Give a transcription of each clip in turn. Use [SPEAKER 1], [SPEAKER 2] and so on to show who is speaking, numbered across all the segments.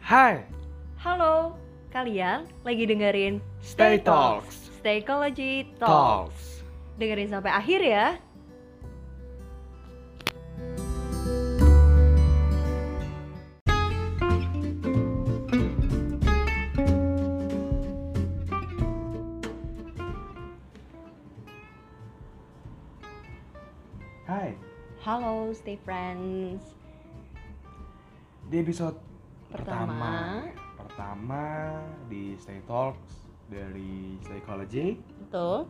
[SPEAKER 1] Hai,
[SPEAKER 2] Halo, kalian lagi dengerin
[SPEAKER 1] Stay Talks
[SPEAKER 2] Staycology Talk.
[SPEAKER 1] Talks.
[SPEAKER 2] Dengerin sampai akhir ya.
[SPEAKER 1] Hai,
[SPEAKER 2] Halo, stay friends.
[SPEAKER 1] di episode
[SPEAKER 2] Pertama.
[SPEAKER 1] pertama, pertama, di Stay Talks dari Psychology.
[SPEAKER 2] Betul.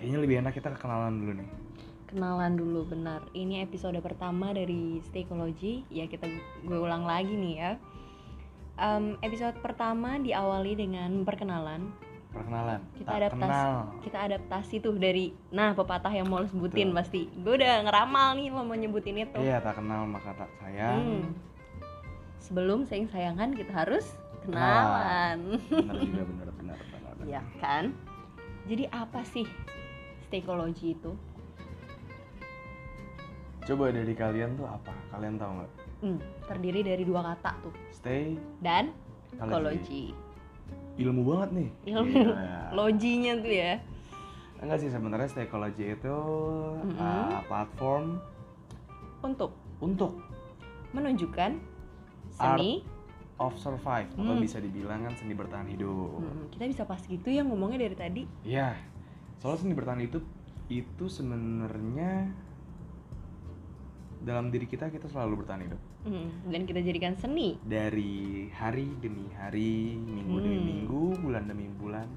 [SPEAKER 1] Kayaknya lebih enak kita kenalan dulu nih.
[SPEAKER 2] Kenalan dulu benar. Ini episode pertama dari Staycology. Ya kita gue ulang lagi nih ya. Em, episode pertama diawali dengan perkenalan.
[SPEAKER 1] Perkenalan.
[SPEAKER 2] Kita
[SPEAKER 1] tak
[SPEAKER 2] adaptasi.
[SPEAKER 1] kenal.
[SPEAKER 2] Kita adaptasi tuh dari nah pepatah yang mau lo sebutin
[SPEAKER 1] Betul.
[SPEAKER 2] pasti. Gue udah ngeramal nih lo mau nyebutin itu.
[SPEAKER 1] Iya, tak kenal maka tak sayang.
[SPEAKER 2] Hmm. Sebelum sayang sayangan kita harus kenalan.
[SPEAKER 1] Kenalan. Benar juga, benar, benar, benar. benar.
[SPEAKER 2] ya kan? Jadi apa sih stekologi itu?
[SPEAKER 1] Coba dari kalian tuh apa? Kalian tahu nggak?
[SPEAKER 2] Hmm, terdiri dari dua kata tuh
[SPEAKER 1] Stay
[SPEAKER 2] dan
[SPEAKER 1] Psychology.
[SPEAKER 2] ekologi.
[SPEAKER 1] Ilmu banget nih.
[SPEAKER 2] Ilmu.
[SPEAKER 1] Gila.
[SPEAKER 2] Loginya tuh ya.
[SPEAKER 1] Enggak sih sebenarnya Psychology itu
[SPEAKER 2] Mm-mm.
[SPEAKER 1] uh, platform
[SPEAKER 2] Untuk
[SPEAKER 1] untuk
[SPEAKER 2] menunjukkan seni,
[SPEAKER 1] of survive atau
[SPEAKER 2] Hmm.
[SPEAKER 1] bisa dibilang kan seni bertahan hidup.
[SPEAKER 2] Hmm, kita bisa pas gitu ya ngomongnya dari tadi.
[SPEAKER 1] Iya. Soalnya seni bertahan hidup itu sebenarnya dalam diri kita kita selalu bertahan hidup.
[SPEAKER 2] Hmm, dan kita jadikan seni.
[SPEAKER 1] Dari hari demi hari, minggu demi
[SPEAKER 2] Hmm.
[SPEAKER 1] minggu, bulan demi bulan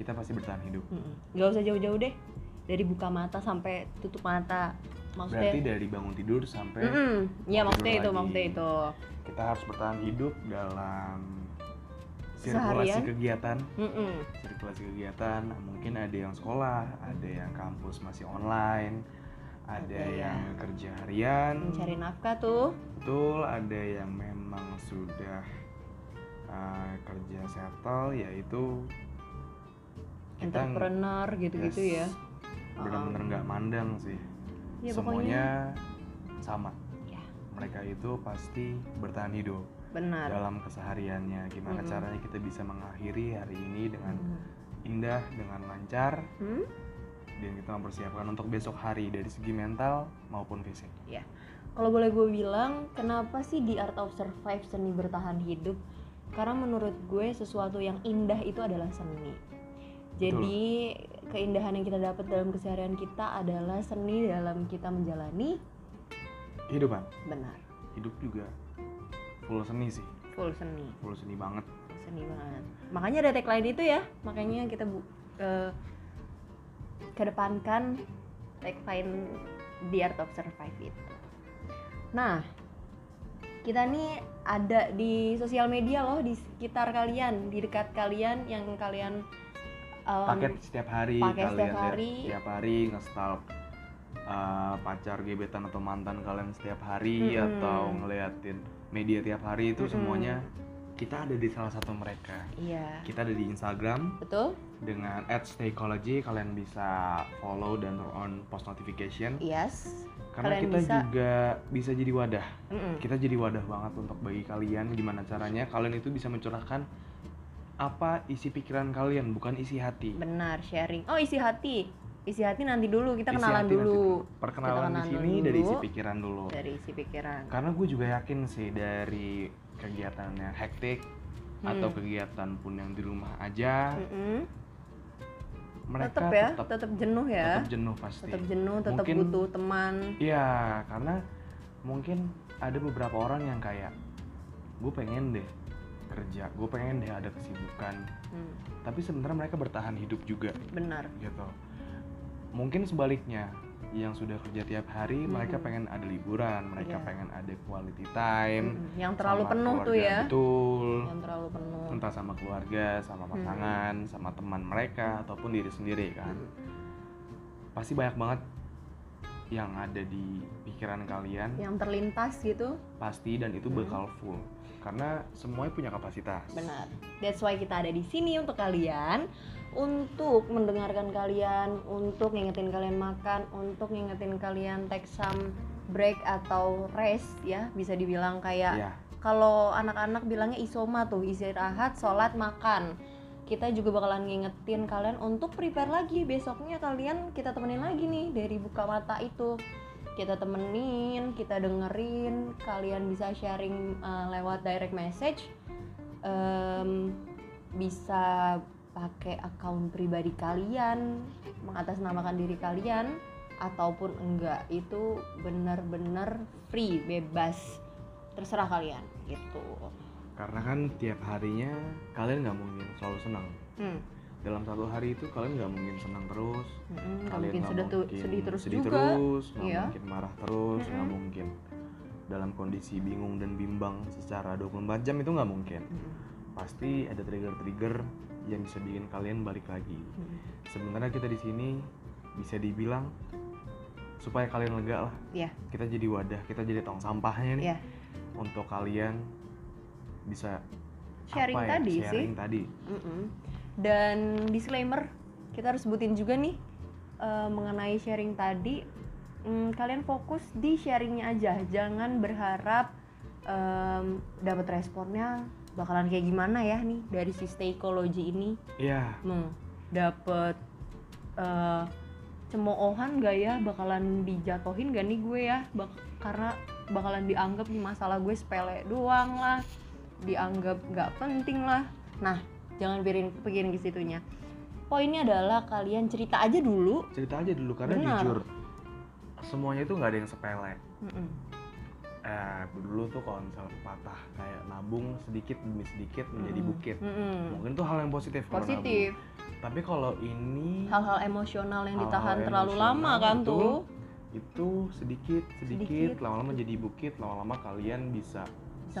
[SPEAKER 1] kita pasti bertahan hidup.
[SPEAKER 2] Hmm, nggak usah jauh-jauh deh. Dari buka mata sampai tutup mata.
[SPEAKER 1] Berarti
[SPEAKER 2] Maksudnya
[SPEAKER 1] dari bangun tidur sampai
[SPEAKER 2] Mm-mm. Iya
[SPEAKER 1] Mau
[SPEAKER 2] maksudnya
[SPEAKER 1] tidur
[SPEAKER 2] itu,
[SPEAKER 1] lagi.
[SPEAKER 2] maksudnya itu.
[SPEAKER 1] kita harus bertahan hidup dalam sirkulasi
[SPEAKER 2] Seharian.
[SPEAKER 1] kegiatan
[SPEAKER 2] Mm-mm.
[SPEAKER 1] sirkulasi kegiatan mungkin ada yang sekolah ada yang kampus masih online ada,
[SPEAKER 2] Ada
[SPEAKER 1] yang
[SPEAKER 2] yang
[SPEAKER 1] kerja harian
[SPEAKER 2] Mencari nafkah tuh.
[SPEAKER 1] betul ada yang memang sudah uh, kerja settle yaitu kita ng-
[SPEAKER 2] entrepreneur gitu-gitu ya. Oh.
[SPEAKER 1] yes, benar-benar nggak mandang sih
[SPEAKER 2] Ya,
[SPEAKER 1] semuanya sama
[SPEAKER 2] Ya.
[SPEAKER 1] mereka itu pasti bertahan hidup
[SPEAKER 2] pokoknya benar.
[SPEAKER 1] dalam kesehariannya gimana
[SPEAKER 2] Mm-mm.
[SPEAKER 1] caranya kita bisa mengakhiri hari ini dengan
[SPEAKER 2] Hmm.
[SPEAKER 1] indah dengan lancar
[SPEAKER 2] Hmm?
[SPEAKER 1] dan kita mempersiapkan untuk besok hari dari segi mental maupun fisik
[SPEAKER 2] Kalau boleh gue bilang, kenapa sih di Art of Survive seni bertahan hidup? Karena menurut gue sesuatu yang indah itu adalah seni. Jadi keindahan yang kita dapat dalam keseharian kita adalah seni dalam kita menjalani
[SPEAKER 1] kehidupan
[SPEAKER 2] benar.
[SPEAKER 1] hidup juga full seni sih
[SPEAKER 2] Full seni,
[SPEAKER 1] full seni banget
[SPEAKER 2] full seni banget. Makanya ada tagline itu ya. Makanya kita bu eh, kedepankan tagline di Art of Survive itu. Nah, kita nih ada di sosial media loh di sekitar kalian, di dekat kalian yang kalian um,
[SPEAKER 1] paket setiap hari
[SPEAKER 2] pakai
[SPEAKER 1] kalian
[SPEAKER 2] setiap
[SPEAKER 1] ya.
[SPEAKER 2] hari.
[SPEAKER 1] setiap hari ngestalk uh, pacar gebetan atau mantan kalian setiap hari
[SPEAKER 2] Mm-mm.
[SPEAKER 1] atau ngeliatin media tiap hari itu
[SPEAKER 2] Mm-mm.
[SPEAKER 1] semuanya kita ada di salah satu mereka
[SPEAKER 2] Iya.
[SPEAKER 1] kita ada di Instagram
[SPEAKER 2] Betul?
[SPEAKER 1] dengan @staycology kalian bisa follow dan turn on post notification
[SPEAKER 2] Yes.
[SPEAKER 1] karena
[SPEAKER 2] Kalian
[SPEAKER 1] kita
[SPEAKER 2] bisa-
[SPEAKER 1] juga bisa jadi wadah
[SPEAKER 2] Mm-mm.
[SPEAKER 1] kita jadi wadah banget untuk bagi kalian gimana caranya kalian itu bisa mencurahkan apa isi pikiran kalian bukan isi hati
[SPEAKER 2] Benar, sharing. Oh, isi hati. Isi hati nanti dulu, kita
[SPEAKER 1] Isi
[SPEAKER 2] kenalan
[SPEAKER 1] hati nanti
[SPEAKER 2] dulu
[SPEAKER 1] perkenalan
[SPEAKER 2] Kita
[SPEAKER 1] di
[SPEAKER 2] kenalan
[SPEAKER 1] sini
[SPEAKER 2] dulu.
[SPEAKER 1] dari isi pikiran dulu
[SPEAKER 2] dari isi pikiran.
[SPEAKER 1] karena gue juga yakin sih dari kegiatan yang hektik atau
[SPEAKER 2] Hmm.
[SPEAKER 1] kegiatan pun yang di rumah aja
[SPEAKER 2] Mm-mm.
[SPEAKER 1] mereka
[SPEAKER 2] tetap ya,
[SPEAKER 1] tetap,
[SPEAKER 2] tetap jenuh ya,
[SPEAKER 1] tetap jenuh pasti
[SPEAKER 2] tetap jenuh, tetap
[SPEAKER 1] Iya. Mungkin-
[SPEAKER 2] butuh teman.
[SPEAKER 1] Iya, karena mungkin ada beberapa orang yang kayak gue pengen deh kerja, gue pengen deh ada kesibukan,
[SPEAKER 2] Hmm,
[SPEAKER 1] tapi sebenarnya mereka bertahan hidup juga
[SPEAKER 2] benar.
[SPEAKER 1] gitu. Mungkin sebaliknya, yang sudah kerja tiap hari mereka
[SPEAKER 2] Mhm.
[SPEAKER 1] pengen ada liburan, mereka
[SPEAKER 2] Iya.
[SPEAKER 1] pengen ada quality time.
[SPEAKER 2] Mm-mm. Hmm, Yang terlalu
[SPEAKER 1] sama
[SPEAKER 2] penuh tuh
[SPEAKER 1] keluarga.
[SPEAKER 2] ya, Hmm.
[SPEAKER 1] Betul.
[SPEAKER 2] yang terlalu penuh.
[SPEAKER 1] Entah sama keluarga,
[SPEAKER 2] Hmm.
[SPEAKER 1] sama pasangan, sama teman mereka ataupun diri sendiri kan.
[SPEAKER 2] Hmm,
[SPEAKER 1] Pasti banyak banget yang ada di pikiran kalian.
[SPEAKER 2] Yang terlintas gitu,
[SPEAKER 1] pasti dan itu
[SPEAKER 2] Ya. Hmm.
[SPEAKER 1] bakal full karena semuanya punya kapasitas
[SPEAKER 2] benar. That's why kita ada di sini untuk kalian untuk mendengarkan kalian, untuk ngingetin kalian makan, untuk ngingetin kalian take some break atau rest ya, bisa dibilang kayak
[SPEAKER 1] ya
[SPEAKER 2] kalau anak-anak bilangnya isoma tuh istirahat sholat makan kita juga bakalan ngingetin kalian untuk prepare lagi besoknya kalian kita temenin lagi nih dari buka mata itu kita temenin kita dengerin kalian bisa sharing eh, lewat direct message Em, bisa pakai akun pribadi kalian mengatasnamakan diri kalian ataupun enggak itu benar-benar free bebas terserah kalian gitu
[SPEAKER 1] karena kan tiap harinya kalian nggak mungkin selalu senang
[SPEAKER 2] hmm.
[SPEAKER 1] dalam satu hari itu kalian nggak mungkin senang terus
[SPEAKER 2] mm-mm, nggak
[SPEAKER 1] kalian
[SPEAKER 2] Hmm, mungkin
[SPEAKER 1] nggak
[SPEAKER 2] sedih, tu-
[SPEAKER 1] mungkin
[SPEAKER 2] sedih terus
[SPEAKER 1] sedih
[SPEAKER 2] juga
[SPEAKER 1] terus, nggak
[SPEAKER 2] Iya.
[SPEAKER 1] mungkin marah terus nggak
[SPEAKER 2] Mm-mm.
[SPEAKER 1] mungkin dalam kondisi bingung dan bimbang secara 24 jam itu nggak mungkin
[SPEAKER 2] Mm-mm,
[SPEAKER 1] pasti ada trigger-trigger yang bisa bikin kalian balik lagi
[SPEAKER 2] mm-mm.
[SPEAKER 1] sebenarnya kita di sini bisa dibilang supaya kalian lega lah
[SPEAKER 2] Iya.
[SPEAKER 1] kita jadi wadah kita jadi tong sampahnya nih
[SPEAKER 2] Iya.
[SPEAKER 1] untuk kalian bisa
[SPEAKER 2] sharing
[SPEAKER 1] apa ya,
[SPEAKER 2] tadi sih
[SPEAKER 1] sharing tadi
[SPEAKER 2] Mm-mm. dan disclaimer kita harus sebutin juga nih eh, mengenai sharing tadi mm, kalian fokus di sharingnya aja jangan berharap em, dapat responnya bakalan kayak gimana ya nih dari si stakeology ini
[SPEAKER 1] iya
[SPEAKER 2] Hmm, dapet eh, cemoohan gak ya bakalan dijatuhin gak nih gue ya Bak- karena bakalan dianggap nih masalah gue sepele doang lah dianggap gak penting lah nah jangan pikirin pikirin ke situnya poinnya adalah kalian cerita aja dulu
[SPEAKER 1] cerita aja dulu karena
[SPEAKER 2] Benar.
[SPEAKER 1] jujur semuanya itu nggak ada yang sepele
[SPEAKER 2] Mm-mm.
[SPEAKER 1] eh dulu tuh konsel patah kayak nabung sedikit demi sedikit menjadi
[SPEAKER 2] Mm-mm.
[SPEAKER 1] bukit
[SPEAKER 2] Mm-mm.
[SPEAKER 1] mungkin tuh hal yang positif kalau nabung.
[SPEAKER 2] Hmm. positif
[SPEAKER 1] tapi kalau ini
[SPEAKER 2] hal-hal emosional yang
[SPEAKER 1] Hal-hal
[SPEAKER 2] ditahan terlalu lama
[SPEAKER 1] emosional,
[SPEAKER 2] kan
[SPEAKER 1] betul.
[SPEAKER 2] tuh
[SPEAKER 1] itu sedikit sedikit
[SPEAKER 2] Sedikit.
[SPEAKER 1] lama-lama jadi bukit lama-lama kalian bisa
[SPEAKER 2] bisa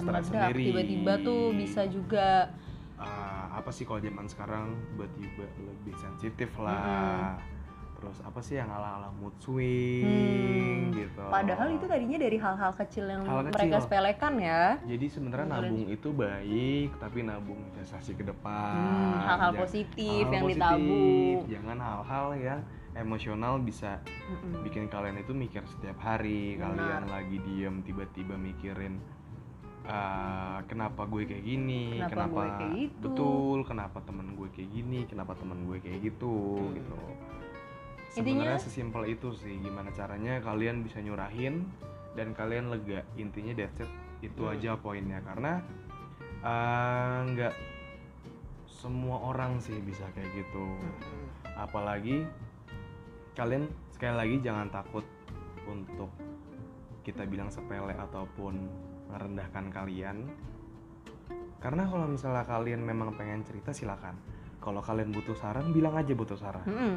[SPEAKER 1] stres
[SPEAKER 2] meledak
[SPEAKER 1] sendiri.
[SPEAKER 2] tiba-tiba tuh bisa juga
[SPEAKER 1] Ah, apa sih kalau zaman sekarang tiba-tiba lebih sensitif lah terus apa sih yang ala-ala mood swing
[SPEAKER 2] Hmm,
[SPEAKER 1] gitu
[SPEAKER 2] Padahal itu tadinya dari hal-hal kecil yang
[SPEAKER 1] Hal kecil.
[SPEAKER 2] mereka sepelekan ya.
[SPEAKER 1] jadi sebenarnya
[SPEAKER 2] Beneran.
[SPEAKER 1] nabung itu baik tapi nabung investasi ke depan
[SPEAKER 2] Hmm, hal-hal
[SPEAKER 1] Jangan-
[SPEAKER 2] positif
[SPEAKER 1] Ah, iya. hal-hal positif.
[SPEAKER 2] yang
[SPEAKER 1] Iya.
[SPEAKER 2] ditabung.
[SPEAKER 1] jangan hal-hal yang emosional bisa
[SPEAKER 2] Mm-mm.
[SPEAKER 1] bikin kalian itu mikir setiap hari
[SPEAKER 2] Benar.
[SPEAKER 1] kalian lagi diem tiba-tiba mikirin "Ah, kenapa gue kayak gini
[SPEAKER 2] Kenapa gue kayak gitu?"
[SPEAKER 1] betul kenapa temen gue kayak gini kenapa temen gue kayak gitu
[SPEAKER 2] Hmm.
[SPEAKER 1] gitu
[SPEAKER 2] Intinya-
[SPEAKER 1] sebenarnya sesimpel itu sih gimana caranya kalian bisa nyurahin dan kalian lega intinya that's it itu
[SPEAKER 2] Hmm.
[SPEAKER 1] aja poinnya karena ah, nggak semua orang sih bisa kayak gitu
[SPEAKER 2] Mm-mm.
[SPEAKER 1] apalagi kalian sekali lagi jangan takut untuk kita bilang sepele ataupun merendahkan kalian karena kalau misalnya kalian memang pengen cerita silakan kalau kalian butuh saran bilang aja butuh saran
[SPEAKER 2] Mm-mm.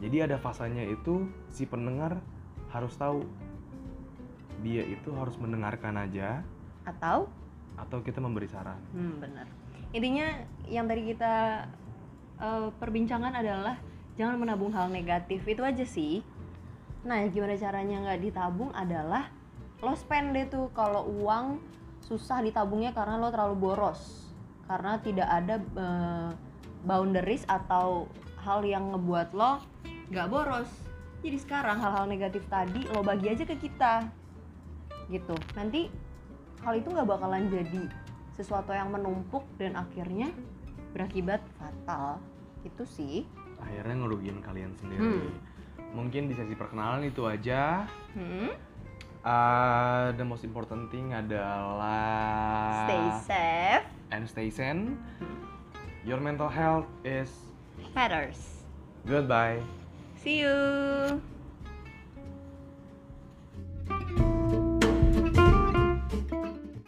[SPEAKER 1] jadi ada fasanya itu si pendengar harus tahu dia itu harus mendengarkan aja
[SPEAKER 2] Atau
[SPEAKER 1] atau kita memberi saran
[SPEAKER 2] hmm, benar. Intinya yang tadi kita eh, perbincangan adalah jangan menabung hal negatif itu aja sih. Nah, gimana caranya nggak ditabung adalah lo spend deh tuh kalau uang susah ditabungnya karena lo terlalu boros. Karena tidak ada eh, boundaries atau hal yang ngebuat lo nggak boros. Jadi sekarang hal-hal negatif tadi lo bagi aja ke kita, gitu. Nanti hal itu nggak bakalan jadi sesuatu yang menumpuk dan akhirnya berakibat fatal. Itu sih.
[SPEAKER 1] akhirnya ngerugiin kalian sendiri
[SPEAKER 2] Hmm.
[SPEAKER 1] mungkin di sesi perkenalan itu aja
[SPEAKER 2] Hmm?
[SPEAKER 1] Uh, the most important thing adalah
[SPEAKER 2] Stay safe,
[SPEAKER 1] and stay sane. Your mental health is
[SPEAKER 2] matters.
[SPEAKER 1] goodbye.
[SPEAKER 2] See you.